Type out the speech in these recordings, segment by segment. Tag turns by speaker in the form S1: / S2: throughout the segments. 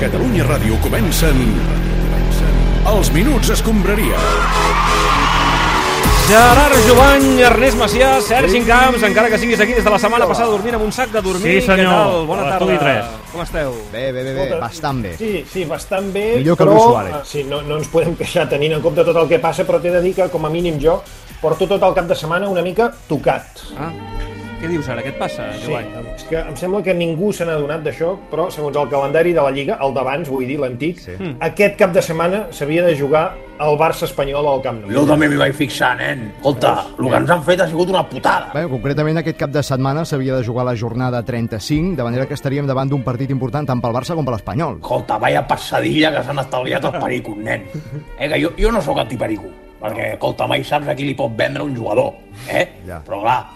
S1: Catalunya Ràdio comencen... Els minuts escombraria.
S2: Gerard Jovany, Ernest Macià, Sergi Camps, encara que siguis aquí des de la setmana passada dormint amb un sac de dormir.
S3: Sí, senyor.
S2: Què tal? Bona
S3: A
S2: tarda.
S3: l'estudi tres.
S2: Com esteu?
S4: Bé, bé, bé, bé. Bastant bé.
S5: Sí, sí, bastant bé,
S4: Millor que
S5: però
S4: Luis Suárez.
S5: eh, sí, no, no ens podem queixar tenint en compte tot el que passa, però t'he de dir que, com a mínim jo, porto tot el cap de setmana una mica tocat.
S2: Ah, què dius ara? Què et passa,
S5: Sí,
S2: Jovany?
S5: és que em sembla que ningú se n'ha adonat d'això, però segons el calendari de la Lliga, el d'abans, vull dir, l'antic, sí.
S2: Hmm.
S5: aquest cap de setmana s'havia de jugar el Barça espanyol al Camp Nou.
S6: Jo també m'hi vaig fixar, nen. Escolta, el que ens han fet ha sigut una putada.
S4: Bé, concretament aquest cap de setmana s'havia de jugar la jornada 35, de manera que estaríem davant d'un partit important tant pel Barça com per l'Espanyol.
S6: Escolta, vaya passadilla que s'han estalviat els pericos, nen. Eh, que jo, jo no sóc antiperico, perquè, escolta, mai saps a qui li pot vendre un jugador, eh?
S4: Ja.
S6: Però, clar,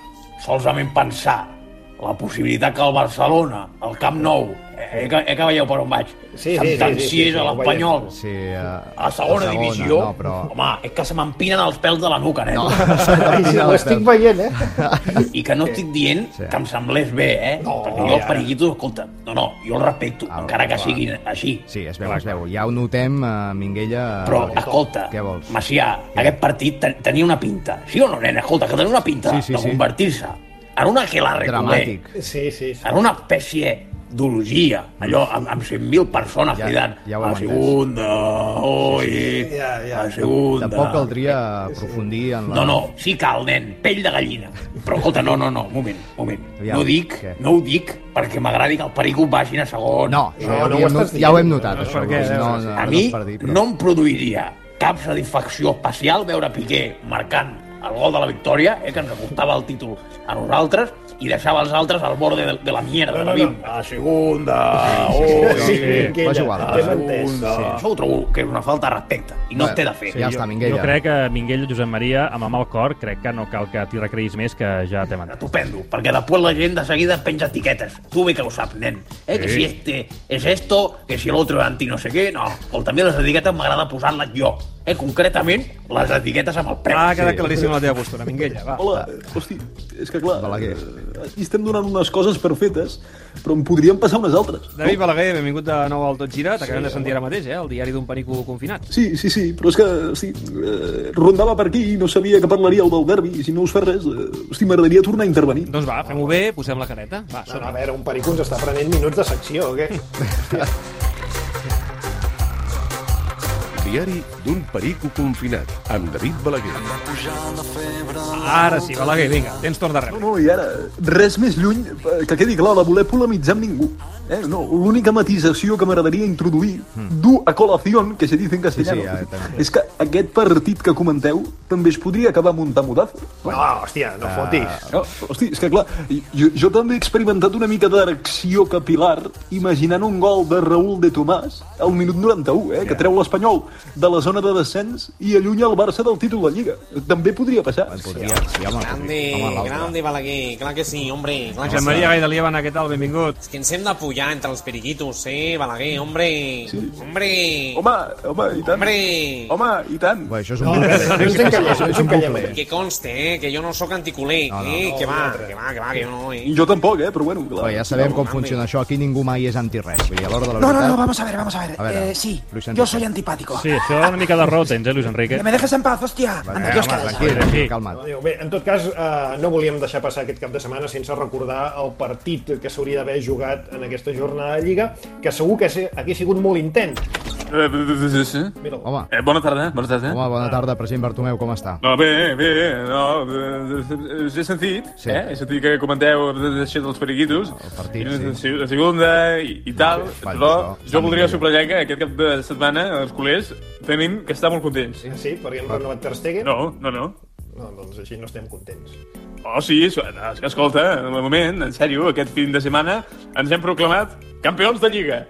S6: solament pensar la possibilitat que el Barcelona, el Camp Nou, eh, eh, que, eh, que veieu per on vaig,
S5: Sí, sí, sí, sí,
S6: sentenciés
S5: sí, sí,
S6: a
S5: ho
S6: l'Espanyol
S4: Sí, eh,
S6: a la segona,
S4: a la
S6: divisió,
S4: No, però...
S6: home, és que se m'empinen els pèls de la nuca, nen. No.
S5: Ai, sí, ho estic veient, eh?
S6: I que no estic dient
S4: Sí.
S6: que em semblés bé, eh? No, Perquè jo els periquitos, escolta, no, no, jo els respecto,
S4: Ah,
S6: encara que
S4: clar.
S6: siguin així.
S4: Sí, es veu, es veu. Ja ho notem, eh, Minguella... eh,
S6: Però,
S4: perquè-
S6: escolta,
S4: Què vols?
S6: Macià, aquest partit ten tenia una pinta. Sí o no, nen? Escolta, que tenia una pinta
S4: Sí, sí,
S6: de
S4: sí.
S6: convertir-se en una aquelarre,
S4: Dramàtic. Mm.
S6: culer,
S5: Sí, sí, sí.
S6: en una espècie d'ologia, allò amb, amb 100.000 persones
S4: Ja-
S6: cridant
S4: ja ho
S6: a
S4: hem
S6: la segunda, oi,
S5: Ja, ja.
S6: a la segunda...
S4: Eh, Tampoc caldria aprofundir en la...
S6: No, no, sí cal, nen, pell de gallina. Però escolta, no, no, no, un moment, un moment.
S4: Aviam,
S6: no dic,
S4: què?
S6: no ho dic perquè m'agradi que el perico vagin a segon.
S4: No, això
S5: No,
S4: ja,
S5: no
S4: havíem
S5: ho estàs
S4: not- ja ho hem
S5: dient.
S4: notat,
S5: No,
S4: això.
S5: perquè-
S4: vull dir, no, no,
S6: a
S4: no
S6: mi
S4: és per dir, però-
S6: no em produiria cap satisfacció especial veure Piqué marcant el gol de la victòria, eh, que ens apuntava el títol a nosaltres, i deixava els altres al borde de, de la mierda.
S5: No,
S6: Ah,
S5: no,
S6: de la
S5: no.
S6: bim. A segunda, oi,
S5: Sí, Minguella,
S4: vas igual.
S6: a
S5: T'he entès.
S6: segunda. Això ho trobo que és una falta de respecte, i
S4: Bé,
S6: no bueno, té de eh? fer.
S4: Ja està, Minguella.
S3: Jo crec que Minguell, Josep Maria, amb el mal cor, crec que no cal que t'hi recreïs més, que ja t'hem entès.
S6: Estupendo, perquè després la gent de seguida penja etiquetes. Tu bé que ho saps, nen. Eh, que si este és esto, que si l'altre és anti no sé què, no. O també les etiquetes m'agrada posar-les jo. Eh, concretament, les etiquetes amb el preu.
S2: Ah, ha
S4: Sí.
S2: quedat claríssima la teva postura, Minguella, va.
S7: Hola, hosti, és que clar,
S4: Balaguer.
S7: eh, aquí estem donant unes coses per fetes, però en podrien passar unes altres.
S2: David Balaguer, benvingut de nou al Tot Gira, t'acabem de sentir ara mateix, eh? El diari d'un panico confinat.
S7: Sí, sí, sí, però és que, hosti, eh, rondava per aquí i no sabia que parlaríeu del derbi, i si no us fa res, eh, hosti, m'agradaria tornar a intervenir.
S2: Doncs va, fem-ho bé, posem la careta. Va,
S5: No, no,
S2: som
S5: a veure, un perico ens està prenent minuts de secció, o què?
S1: Diari d'un perico confinat, amb David Balaguer.
S2: Ara sí, Balaguer, vinga, tens torn de
S7: No,
S2: rep.
S7: no, i ara, res més lluny, eh, que quedi clar, de voler polemitzar amb ningú. Eh, no, l'única matisació que m'agradaria introduir,
S8: Hmm.
S7: du a colación, que se dice en castellano,
S4: Sí, sí, ja, també.
S7: és que aquest partit que comenteu també es podria acabar amb un tamudazo.
S5: No, hòstia,
S4: Ah.
S5: no fotis.
S7: No, hosti, és que clar, jo, jo també he experimentat una mica d'erecció capilar imaginant un gol de Raúl de Tomàs al minut 91, eh, que treu l'Espanyol de la zona de descens i allunya el Barça del títol de Lliga. També podria passar.
S4: Podria, sí, home,
S9: Grande,
S4: home, l'altre.
S9: grande Balaguer, clar que sí, hombre, clar que
S2: Josep
S9: sí.
S2: Maria Gaidalia, bona, què tal? Benvingut.
S9: És que ens hem d'apujar entre els periquitos, eh, Balaguer, hombre,
S7: Sí.
S9: hombre,
S7: Home, home, i tant.
S9: hombre.
S7: Home, i tant.
S4: Bé, això és
S5: No,
S4: un
S5: no,
S4: bucle.
S5: no ens encallem, no ens encallem.
S4: bucle.
S9: Que conste, eh, que jo no sóc anticuler,
S4: No, no,
S9: eh,
S5: no,
S9: que va,
S5: nosaltres.
S9: que va, que va, que jo no, eh.
S7: I jo tampoc, eh, però bueno, clar.
S4: Bé, ja sabem com funciona això. Aquí ningú mai és anti-res. Vull dir, a l'hora de la
S10: No,
S4: veritat...
S10: no, no, vamos a ver, vamos a ver.
S4: A ver,
S10: eh, sí,
S4: Luis
S10: yo
S4: Enrique.
S10: soy antipático.
S3: Sí, això una mica de raó tens, eh, Luis Enrique?
S10: Que me dejes en paz, hostia.
S4: Va,
S10: Anda,
S4: eh,
S10: Dios,
S4: home,
S10: caray.
S4: tranquil,
S3: Sí.
S4: calma't.
S5: Déu, Bé, en tot cas, eh, no volíem deixar passar aquest cap de setmana sense recordar el partit que s'hauria d'haver jugat en aquesta jornada de Lliga, que segur que se- hauria sigut molt intens. Mira'l.
S4: Home,
S11: Eh, bona tarda, bona tarda.
S4: home, bona tarda, president Bartomeu, com està?
S11: No, bé, bé, no, eh, eh, us he sentit,
S4: Sí.
S11: sí. eh? He sentit que comenteu això dels periquitos.
S4: El partit,
S11: I
S4: sí.
S11: La segunda i, i tal,
S4: Sí, vale,
S11: però
S4: però-
S11: jo voldria subratllar que aquest cap de setmana els culers tenim que estar molt contents. Ah,
S5: Sí, perquè hem renovat Ter Stegen.
S11: No, no, no.
S5: No, doncs així no estem contents.
S11: Oh, sí, es- escolta, en el moment, en sèrio, aquest fin de setmana ens hem proclamat campions de Lliga.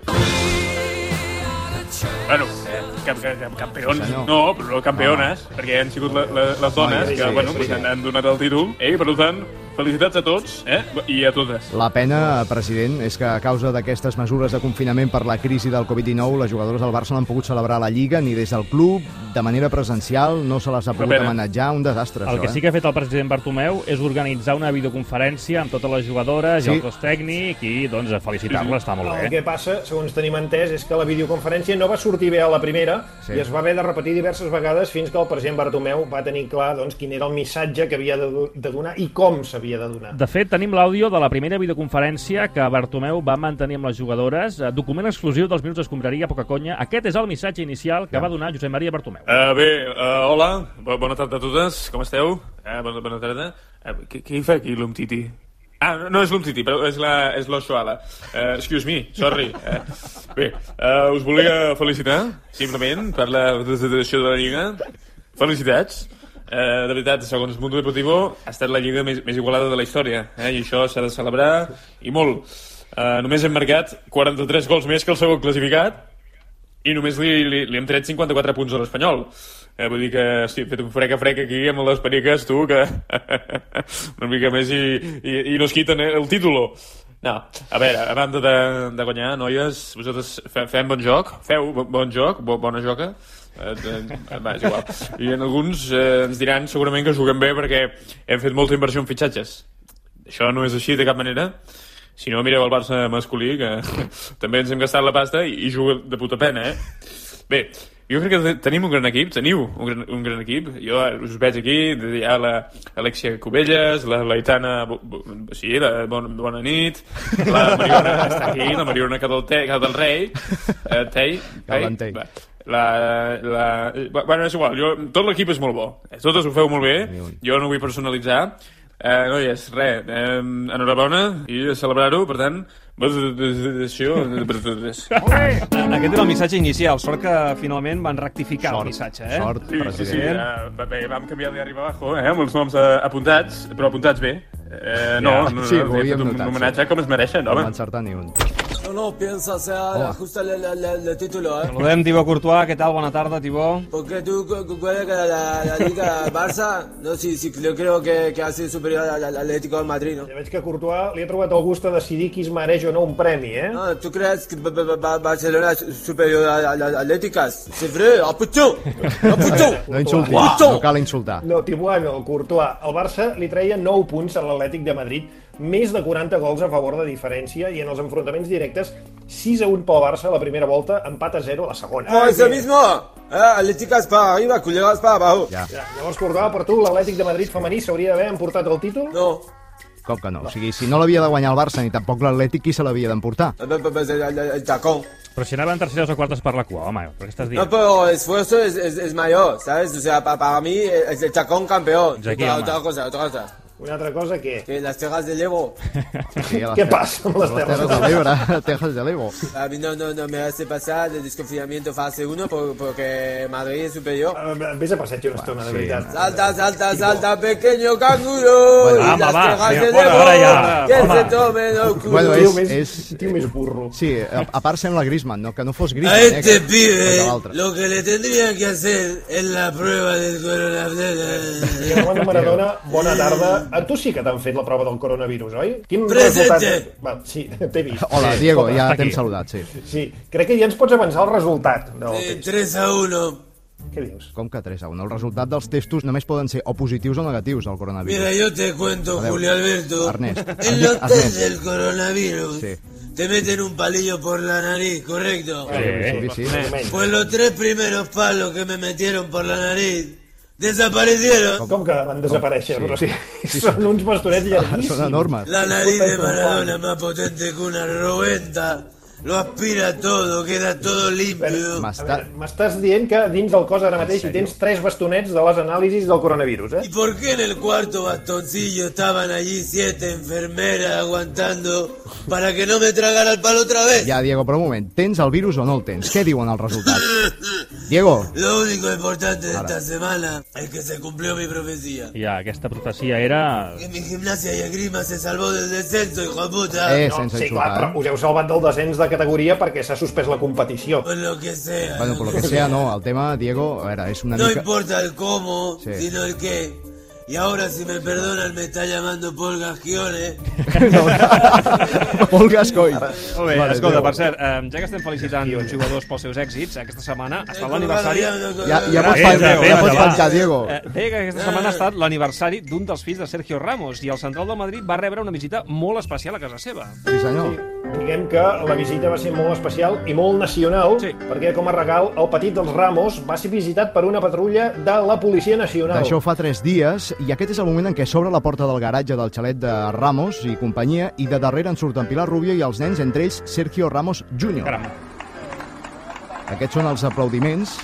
S11: Bueno, eh, cap, cap, campions,
S4: Senyor.
S11: no, però campeones, perquè han sigut la, la, les dones
S4: Noies,
S11: que,
S4: sí,
S11: bueno,
S4: sí.
S11: pues, han, han donat el títol, eh, i per tant, felicitats a tots eh? i a totes.
S4: La pena, president, és que a causa d'aquestes mesures de confinament per la crisi del Covid-19, les jugadores del Barça no han pogut celebrar la Lliga ni des del club, de manera presencial, no se les ha pogut
S3: pena.
S4: homenatjar, un desastre,
S3: El
S4: això,
S3: que
S4: eh?
S3: sí que ha fet el president Bartomeu és organitzar una videoconferència amb totes les jugadores
S4: Sí.
S3: i el cos tècnic i, doncs, a felicitar-les, està molt
S5: El
S3: bé.
S5: que passa, segons tenim entès, és que la videoconferència no va sortir bé a la primera
S3: Sí.
S5: sí. i es va haver de repetir diverses vegades fins que el president Bartomeu va tenir clar doncs, quin era el missatge que havia de, do- de donar i com s'havia de donar.
S3: De fet, tenim l'àudio de la primera videoconferència que Bartomeu va mantenir amb les jugadores, eh, document exclusiu dels minuts d'escombraria, poca conya. Aquest és el missatge inicial que va donar Josep Maria Bartomeu.
S11: Uh, bé, uh, hola, bo- bona tarda a totes, com esteu? Uh, bona, bona tarda. Uh, què, què hi fa aquí l'Umtiti? Ah, no, no és l'Umtiti, però és la- és l'Oshoala. Uh, excuse me, sorry. Uh, bé, uh, us volia felicitar, simplement, per la presentació de la Lliga. Felicitats. Uh, de veritat, segons Mundo Deportivo, ha estat la Lliga més, més igualada de la història, eh? i això s'ha de celebrar, i molt. Uh, només hem marcat 43 gols més que el segon classificat, i només li, li, li hem tret 54 punts a l'Espanyol. Eh, vull dir que sí, he fet un freca freca aquí amb les periques, tu, que una mica més i, i, i no es quiten eh, el títol. No, a veure, a banda de, de guanyar, noies, vosaltres fe, fem bon joc, feu bo- bon joc, bo, bona joca, eh, eh, va, és igual. I en alguns eh, ens diran segurament que juguem bé perquè hem fet molta inversió en fitxatges. Això no és així de cap manera. Si no, mireu el Barça masculí, que també ens hem gastat la pasta i, i juga de puta pena, eh? Bé, jo crec que te- tenim un gran equip, teniu un gran, un gran equip. Jo eh, us veig aquí, hi ha la Alexia Cubelles, la Laitana... Bo- Bo- Sí, la bon, bona nit. La Mariona està aquí, la Mariona Cadaltei, Cadalrei. Eh, Tei, Tei,
S4: Cadaltei.
S11: va. La, la... eh, Bueno, és igual, jo, tot l'equip és molt bo. Eh, Totes ho feu molt bé, jo no vull personalitzar. Eh, noies, res, eh, enhorabona i a celebrar-ho, per tant, presentació...
S2: Aquest era el missatge inicial. Sort que finalment van rectificar
S11: Sort,
S2: el missatge, eh?
S11: sort, Sí, sí, president. sí, eh, va- bé, vam canviar d'arriba abajo, eh, amb els noms eh, apuntats, però apuntats bé. Eh, no,
S4: Ja.
S11: no, no,
S4: Sí,
S11: li he
S4: ho havíem
S11: fet un
S4: notat, sí.
S11: homenatge com es mereixen,
S4: No
S11: home.
S4: va encertar ni un.
S12: No, no, piensa, o sea,
S4: Hola.
S12: ajusta la- la- la- el título, ¿eh?
S2: Saludem Tibó Courtois, què tal? Bona tarda, Tibó.
S12: Porque tú cu- cu- crees que la, la, la Liga Barça, no sé si yo creo que, que ha sido superior al, al Atlético de Madrid, ¿no?
S5: Ja veig que Courtois li ha trobat el gust de decidir qui es mereix o no un premi, eh?
S12: No, ¿Tú crees que Ba- Ba- Ba- Barcelona es superior al, al, al Atlético? ah, ¡Se frío! ¡Apuchú!
S5: Ah,
S12: ¡Apuchú!
S4: No insulti,
S12: Uau!
S4: no cal insultar.
S5: No, Tibuano, el Courtois. El Barça li treia 9 punts a l'Atlètic de Madrid, més de 40 gols a favor de diferència i en els enfrontaments directes 6 a 1 pel Barça a la primera volta, empat a 0 a la segona.
S12: ¡Ah, ¡Eso mismo! Eh, Atlético es para arriba, culeros para abajo.
S5: Ja, llavors, Courtois, per tu, l'Atlètic de Madrid femení s'hauria d'haver emportat el títol?
S12: No.
S4: Com que no? O sigui, si no l'havia de guanyar el Barça ni tampoc l'Atlètic, qui se l'havia d'emportar?
S12: El, el- Ah, el- el- el tacón.
S3: Però si anaven terceres o quartes per la cua, home, per què estàs dient?
S12: No, pero el esfuerzo es, es, es mayor, ¿sabes? O sea, pa- para mí eh, es el tacón campeón.
S3: Jackie,
S12: otra,
S3: home.
S12: otra cosa, otra cosa.
S5: Una otra cosa que...
S12: Que las cejas del Evo.
S4: Sí, a
S12: Què
S4: Ter-
S12: passa amb les
S4: a
S12: Terres
S4: Terres
S12: de
S4: de l'Ebre? Terres de l'Evo.
S12: A mí no, no, no me hace pasar el desconfinamiento fase 1 por- porque Madrid es superior.
S5: Ves a passeig una estona, de veritat.
S12: Salta, salta, salta, pequeño canguro.
S5: Bueno,
S12: Y
S5: ama,
S12: las
S5: va,
S12: cejas
S5: Ah, sí,
S12: del
S5: fuera,
S12: Evo,
S5: ahora ya,
S12: Que
S5: ama.
S12: se tomen los culos.
S4: Bueno,
S5: Tio
S4: és,
S5: més-
S4: és...
S5: Tio més burro.
S4: Sí, a, a part sembla Griezmann, no? que no fos
S12: A
S4: Griezmann.
S12: este
S4: eh, que- que
S12: pibe
S4: l'altre.
S12: lo que le tendrían que hacer es la prueba del coronavirus.
S5: Germán Maradona, bona tarda. A tu sí que t'han fet la prova del coronavirus, oi? Quin
S12: Presente.
S5: resultat- Va, sí, t'he vist.
S4: Hola,
S5: Sí,
S4: Diego,
S5: escolta,
S4: ja
S5: està
S4: t'hem
S5: aquí.
S4: saludat, sí.
S5: Sí, crec que ja ens pots avançar el resultat. No,
S12: Eh, 3 a 1.
S5: Què dius?
S4: Com que 3 a 1? El resultat dels testos només poden ser o positius o negatius al coronavirus.
S12: Mira, yo te cuento,
S4: Adeu.
S12: Julio Alberto.
S4: Ernest,
S12: En los
S4: Ernest.
S12: test del coronavirus
S4: Sí.
S12: te meten un palillo por la nariz, ¿correcto?
S4: sí, sí.
S12: Pues los tres primeros palos que me metieron por la nariz desaparecieron.
S5: Com que van desaparèixer? Però sí, són uns bastonets llarguíssims.
S4: Ah, Són enormes.
S12: La nariz de Maradona es más potente que una roventa. Lo aspira todo, queda todo limpio.
S5: A veure, Ah, M'estàs dient que dins del cos ara mateix hi tens tres bastonets de les anàlisis del coronavirus, eh?
S12: ¿Y por qué en el cuarto bastoncillo estaban allí siete enfermeras aguantando para que no me tragara el palo otra vez?
S4: Ja, Diego, però un moment. Tens el virus o no el tens? Què diuen els resultats? Diego,
S12: Lo único importante de esta semana es que se cumplió mi profecía.
S3: Ja, aquesta profecia era...
S12: Que mi gimnasia y esgrima se salvó del descenso, hijo de puta.
S4: Eh,
S5: no,
S4: sense
S5: sí,
S4: insultar,
S5: clar, però
S4: eh?
S5: us heu salvat del descens de categoria perquè s'ha suspès la competició.
S12: Por lo que sea.
S4: bueno, per lo que sea, no, el tema, Diego, a veure, és una
S12: No
S4: mica...
S12: importa el cómo,
S4: Sí.
S12: sino el qué. Y ahora, si me perdonan, me está llamando Paul Gasquione.
S4: Paul Gascoigne.
S2: Molt bé, vale, escolta, per cert, eh, ja que estem felicitant els jugadors pels seus èxits, aquesta setmana ha estat l'aniversari...
S4: Ja- ja pots penjar,
S2: Gràcies,
S4: ja pots
S2: Déu,
S4: penjar,
S2: va.
S4: Diego.
S2: Eh, Deia que aquesta setmana ha estat l'aniversari d'un dels fills de Sergio Ramos i el central del Madrid va rebre una visita molt especial a casa seva.
S4: Sí, senyor.
S5: Diguem que la visita va ser molt especial i molt nacional, sí. perquè com a regal el petit dels Ramos va ser visitat per una patrulla de la Policia Nacional.
S4: D'això fa tres dies, i aquest és el moment en què s'obre la porta del garatge del xalet de Ramos i companyia, i de darrere en surten Pilar Rubio i els nens, entre ells Sergio Ramos Jr.
S2: Caram.
S4: Aquests són els aplaudiments,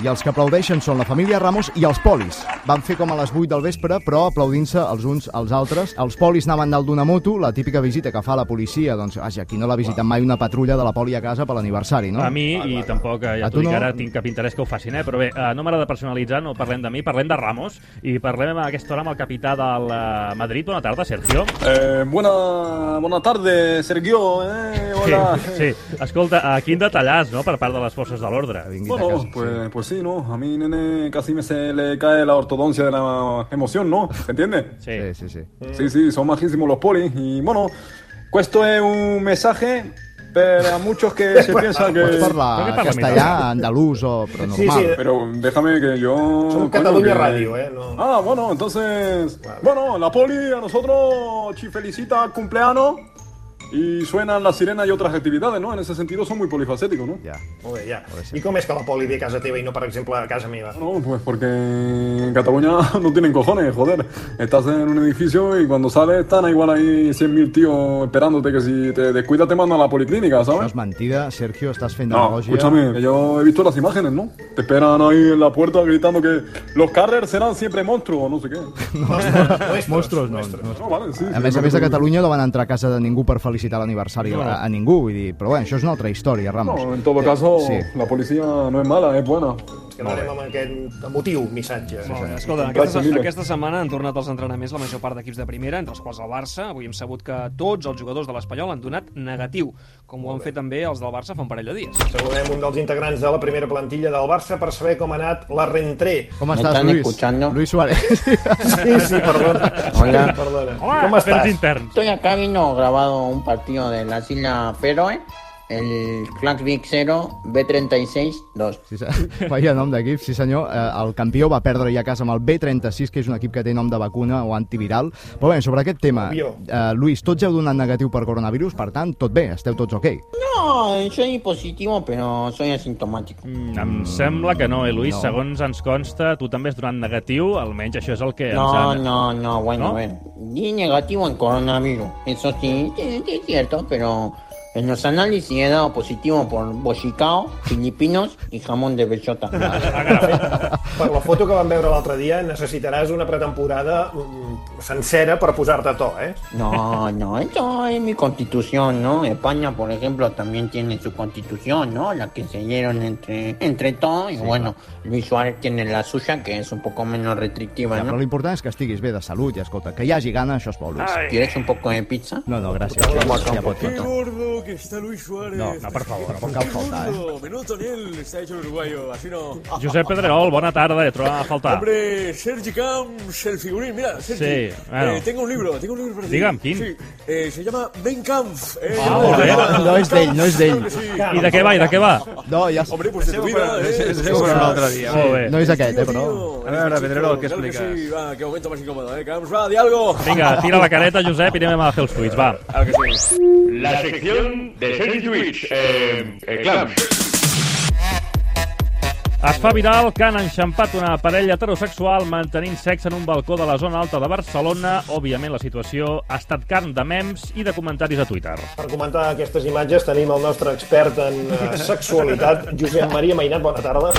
S4: i els que aplaudeixen són la família Ramos i els polis. Van fer com a les 8 del vespre, però aplaudint-se els uns als altres. Els polis anaven dalt d'una moto, la típica visita que fa la policia. Doncs, vaja, aquí no l'ha visitat mai una patrulla de la poli a casa per l'aniversari, no?
S3: A mi, i tampoc, eh,
S4: A
S3: ja t'ho
S4: tu
S3: dic
S4: no?
S3: ara, tinc cap interès que ho facin, eh? però bé, eh, no m'agrada personalitzar, no parlem de mi, parlem de Ramos, i parlem a aquesta hora amb el capità del eh, Madrid. Bona tarda, Sergio.
S8: Eh, buena, buena tarde, Sergio. Eh, hola.
S3: Sí, sí. Escolta, aquí en detallats, no?, per part de les forces de l'ordre.
S8: Bueno, pues, pues sí, ¿no? A mí, nene, casi me se le cae la ortodoncia de la emoción, ¿no? ¿Se entiende?
S3: Sí,
S4: sí, sí.
S8: Sí, sí, son majísimos los polis. Y bueno, esto es un mensaje para muchos que Eh, se piensan que...
S4: Pots parlar castellà, andalús o... però normal.
S8: Pero déjame Eh, que yo... coño,
S4: Cataluña
S8: que-
S4: Radio, ¿eh? No.
S8: Ah, bueno, entonces... Bueno, la poli a nosotros chi felicita cumpleaños y suenan las sirenas y otras actividades, ¿no? En ese sentido son muy polifacéticos, ¿no?
S4: Ya.
S5: Molt bé, ja. I com és que la poli ve a casa teva i no, per exemple, a casa meva?
S8: No, pues porque en Cataluña no tienen cojones, joder. Estás en un edificio y cuando sales están igual ahí 100.000 tíos esperándote que si te descuidas te mandan a la
S4: No
S8: policlínica, ¿sabes?
S4: eh? és mentida, Sergio, estàs fent
S8: No,
S4: demagogia.
S8: escúchame, que yo he visto las imágenes, ¿no? Te esperan ahí en la puerta gritando que los carrers serán siempre monstruos, no sé qué.
S4: Monstruos, no.
S8: No, vale, sí,
S4: A més a més de Catalunya no van entrar a casa de ningú per felicitar l'aniversari
S8: No.
S4: a, a ningú, vull dir, però bueno, això és una altra història, Ramos.
S8: No, en todo caso,
S4: Sí.
S8: la policía no es mala, es buena.
S5: Que no anem amb aquest emotiu missatge.
S2: Molt bé, Escolta, aquesta, aquesta setmana han tornat als entrenaments la major part d'equips de primera, entre els quals el Barça. Avui hem sabut que tots els jugadors de l'Espanyol han donat negatiu, com ho han fet també els del Barça fa un parell de dies.
S5: Saludem un dels integrants de la primera plantilla del Barça per saber com ha anat la rentré.
S4: Com Me estàs, están Luis? escuchando. Luis Suárez.
S5: Sí, sí, perdona.
S13: Hola.
S5: Perdona. com estàs?
S13: Estoy acá, vino grabado un partido de las Islas Feroe, el Klaxvik 0, B36 2.
S4: Sí, se- Vaya nom d'equip, sí senyor. Eh, El campió va perdre ja a casa amb el B36, que és un equip que té nom de vacuna o antiviral. Però bé, sobre aquest tema,
S13: Campió.
S4: eh, Luis, tots heu donat negatiu per coronavirus, per tant, tot bé, esteu tots ok.
S13: No, soy positivo, pero soy asintomático.
S3: Mm, Em sembla que no, eh, Luis?
S13: No.
S3: No. Segons ens consta, tu també has donat negatiu, almenys això és el que ens
S13: No,
S3: han...
S13: no, no, Ah, bueno,
S3: ¿No?
S13: bueno. Di negativo en coronavirus, eso sí, sí, sí, es cierto, pero en los análisis he dado positivo por bochicao, filipinos y jamón de bellota.
S5: Per la foto que vam veure l'altre dia necessitaràs una pretemporada mm, sencera per posar-te a to, eh?
S13: No, no, eso es mi constitución, ¿no? España, por ejemplo, también tiene su constitución, ¿no? La que se dieron entre, entre todos. Y bueno, Luis Suárez tiene la suya, que es un poco menos restrictiva,
S4: Ja, però
S13: ¿no?
S4: l'important és que estiguis bé de salut i, escolta, que hi hagi gana, això és bo, Luis.
S13: Ai. ¿Quieres un poco de pizza?
S4: No, no, gràcies. Ja pot,
S12: Qué
S4: pot.
S12: gordo que está Luis Suárez.
S4: No, no, por favor,
S12: Qué
S4: no cal faltar, eh.
S12: gordo. Menudo tonel está hecho el uruguayo, así no.
S3: Josep Pedrerol, bona tarda, et trobem a faltar.
S12: Hombre, Sergi Camps, el figurín, mira, Sergi.
S3: Sí, bueno.
S12: Eh, tengo un libro, tengo un libro para ti.
S3: Digue'm, quin?
S12: Sí, eh, se llama Ben Kampf. Eh,
S3: Ah, molt bé. No és d'ell, no és d'ell. I de què va, i de què va?
S4: No, ja...
S12: Hombre, pues de tu vida, eh.
S14: un altre dia.
S4: Sí,
S14: Molt bé.
S4: No és aquest, eh, però...
S14: A veure, Pedrerol, què
S12: Claro Ah, que
S14: expliques?
S12: sí, va, qué momento más incómodo, eh. Camps, va, di algo.
S3: Vinga, tira la careta, Josep, i anem a fer els tuits, va.
S15: La sección de Sergi Lluís. Eh, eh, clams.
S3: Es fa viral que han enxampat una parella heterosexual mantenint sexe en un balcó de la zona alta de Barcelona. Òbviament, la situació ha estat carn de mems i de comentaris a Twitter.
S5: Per comentar aquestes imatges tenim el nostre expert en eh, sexualitat, Josep Maria Mainat, bona tarda.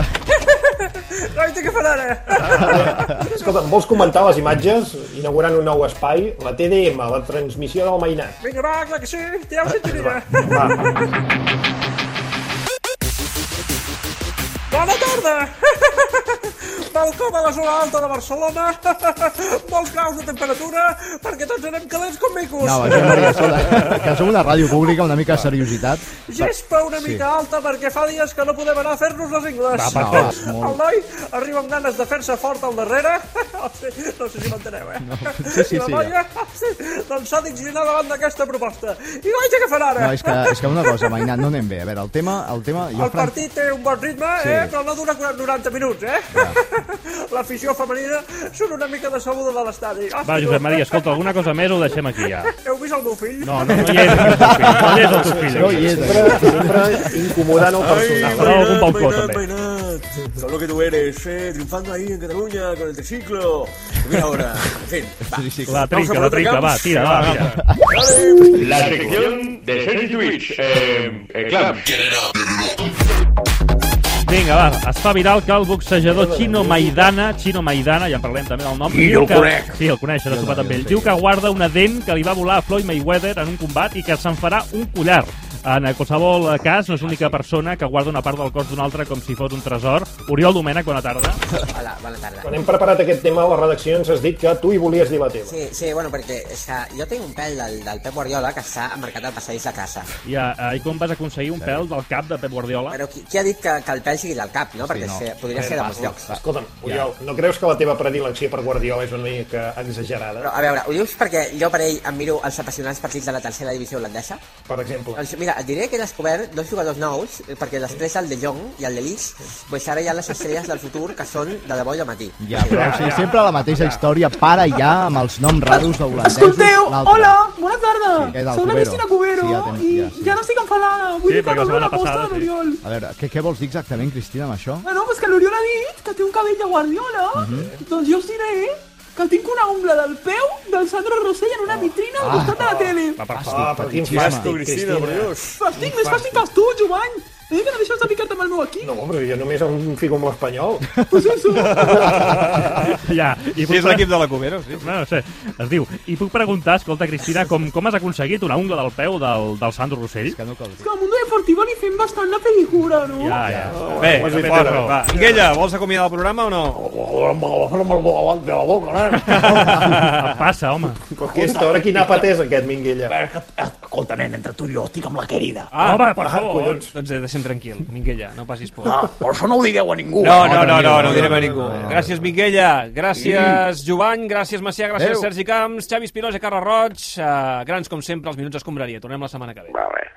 S12: Ai, té que fer ara.
S1: eh.
S5: Escolta, vols comentar les imatges? Inaugurant un nou espai, la TDM, la transmissió del Mainat.
S12: Vinga, va, clar que sí, tireu cinturina. Bona tarda!
S1: Tal com a la zona alta de Barcelona, molts graus de temperatura, perquè tots anem calents com micos.
S4: No, va, Josep Maria, escolta, que som una ràdio pública, una mica de seriositat.
S1: Gespa una
S4: Sí.
S1: mica alta perquè fa dies que no podem anar a fer-nos les ingles.
S4: Va, per No, favor. va, molt.
S1: El noi arriba amb ganes de fer-se fort al darrere. No sé, no sé si m'enteneu, eh? No,
S4: sí, sí,
S1: I la
S4: sí.
S1: noia sí, doncs s'ha d'inclinar davant d'aquesta proposta. I vaja que fan ara!
S4: No, és que, és que una cosa, Mainat, no anem bé. A veure, el tema... El, tema,
S1: El partit té un bon ritme,
S4: Sí.
S1: eh? però no dura 90 minuts. Eh? L'afició femenina són una mica decebuda de l'estadi.
S3: Va, Josep Maria, escolta, alguna cosa més o ho deixem aquí ja?
S1: Heu vist el meu fill?
S3: No, no, no hi és el teu fill.
S5: No
S3: No hi és el teu fill.
S5: hi és. Sempre- sempre incomodant el personal.
S3: Però algun balcó, també.
S12: Mainat, solo que tú eres, eh, triunfando ahí en Cataluña con el triciclo. Mira ahora, en fin, va. Vamos
S3: La
S12: a
S3: trinca,
S12: por
S3: la
S12: otro
S3: trinca,
S12: camp.
S3: va, tira, va, tira.
S15: La sección de Sergi Twitch. Eh, eh, clams.
S3: Vinga, va, es fa viral que el boxejador Chino Maidana, Chino Maidana, ja en parlem també del nom,
S15: Sí,
S3: diu
S15: jo el
S3: que,
S15: conec.
S3: Sí, el coneix, has sopat amb ell.
S15: sí.
S3: Diu que guarda una dent que li va volar a Floyd Mayweather en un combat i que se'n farà un collar. En qualsevol cas, no és l'única persona que guarda una part del cos d'una altra com si fos un tresor. Oriol Domènech, bona tarda.
S16: Hola, bona tarda.
S5: Quan hem preparat aquest tema a la redacció ens has dit que tu hi volies dir la teva.
S16: Sí, sí, bueno, perquè és que jo tinc un pèl del, del Pep Guardiola que està marcat al passadís de casa.
S3: I, eh, I com vas aconseguir un pèl del cap de Pep Guardiola?
S16: Però qui, qui ha dit que, que el pèl sigui del cap, no? perquè se,
S5: Eh,
S16: podria ser de molts llocs.
S5: Escolta'm, Oriol, no creus que la teva predilecció per Guardiola és una mica exagerada?
S16: Però, a veure, ho dius perquè jo per ell em miro els apassionants partits de la tercera divisió holandesa?
S5: Per exemple.
S16: Doncs mira, et diré que he descobert dos jugadors nous, eh, perquè després el de Jong i el de Lis, doncs ara hi ha les estrelles del futur que són de debò i de matí.
S4: Ja, però, o sigui, sempre la mateixa història. Para ja amb els noms raros d'holandesos.
S17: Escolteu,
S4: l'altre.
S17: hola, bona tarda.
S4: Sí, què tal,
S17: Soc la
S4: Cubero?
S17: Cristina Cubero
S4: Sí, ja tens-
S17: i
S4: ja,
S17: ja no estic enfadada. Vull
S4: Sí,
S17: dir que
S4: perquè la
S17: no
S4: setmana
S17: la posta
S4: passada,
S17: de l'Oriol.
S4: A veure, què, què vols dir exactament, Cristina, amb això?
S17: Bueno, pues que l'Oriol ha dit que té un cabell de guardiola.
S4: Mhm.
S17: Doncs jo us diré que tinc una ungla del peu del Sandro Rossell
S4: Oh.
S17: en una vitrina
S4: Ah.
S17: al costat de la tele.
S4: Va, per
S17: Fàstic,
S5: Ah, per quin
S17: fàstic,
S5: fàstic, Cristina.
S17: Cristina, per Dios. Fàstic, més fàstic que tu, Jovany. Eh, que no deixes de picar-te amb el meu aquí.
S5: No, però jo només em fico amb l'espanyol.
S3: Ja, i
S14: Sí, és l'equip de la Cubero, sí.
S3: No, no sé, es diu. I puc preguntar, escolta, Cristina, com, com has aconseguit una ungla del peu del, del Sandro Rossell? És que
S4: no cal
S17: És que al Mundo Deportivo li fem bastant la película, no?
S3: Ja, ja.
S4: Ah,
S14: Bé,
S3: Ho has dit
S14: també
S3: fora.
S14: té raó. va. Minguella, vols acomiadar el programa o no? De la boca,
S3: Em passa, home.
S5: Però aquesta hora, quin àpat és aquest, Minguella?
S6: Escolta, nen, entre tu i jo estic amb la querida.
S2: Ah,
S6: va,
S2: ah, collons. Doncs eh, deixem tranquil, Minguella, no passis por.
S6: No, Ah, però això no ho digueu a ningú.
S2: No,
S6: eh?
S2: no, no, no, no ho
S6: no,
S2: direm a
S6: no,
S2: ningú. Gràcies, Minguella, gràcies,
S6: Sí.
S2: Jovany, gràcies, Macià, gràcies,
S6: Adéu.
S2: Sergi Camps, Xavi Espinosa, Carles Roig, eh, grans com sempre, els minuts escombraria. Tornem la setmana que ve.
S6: Vale.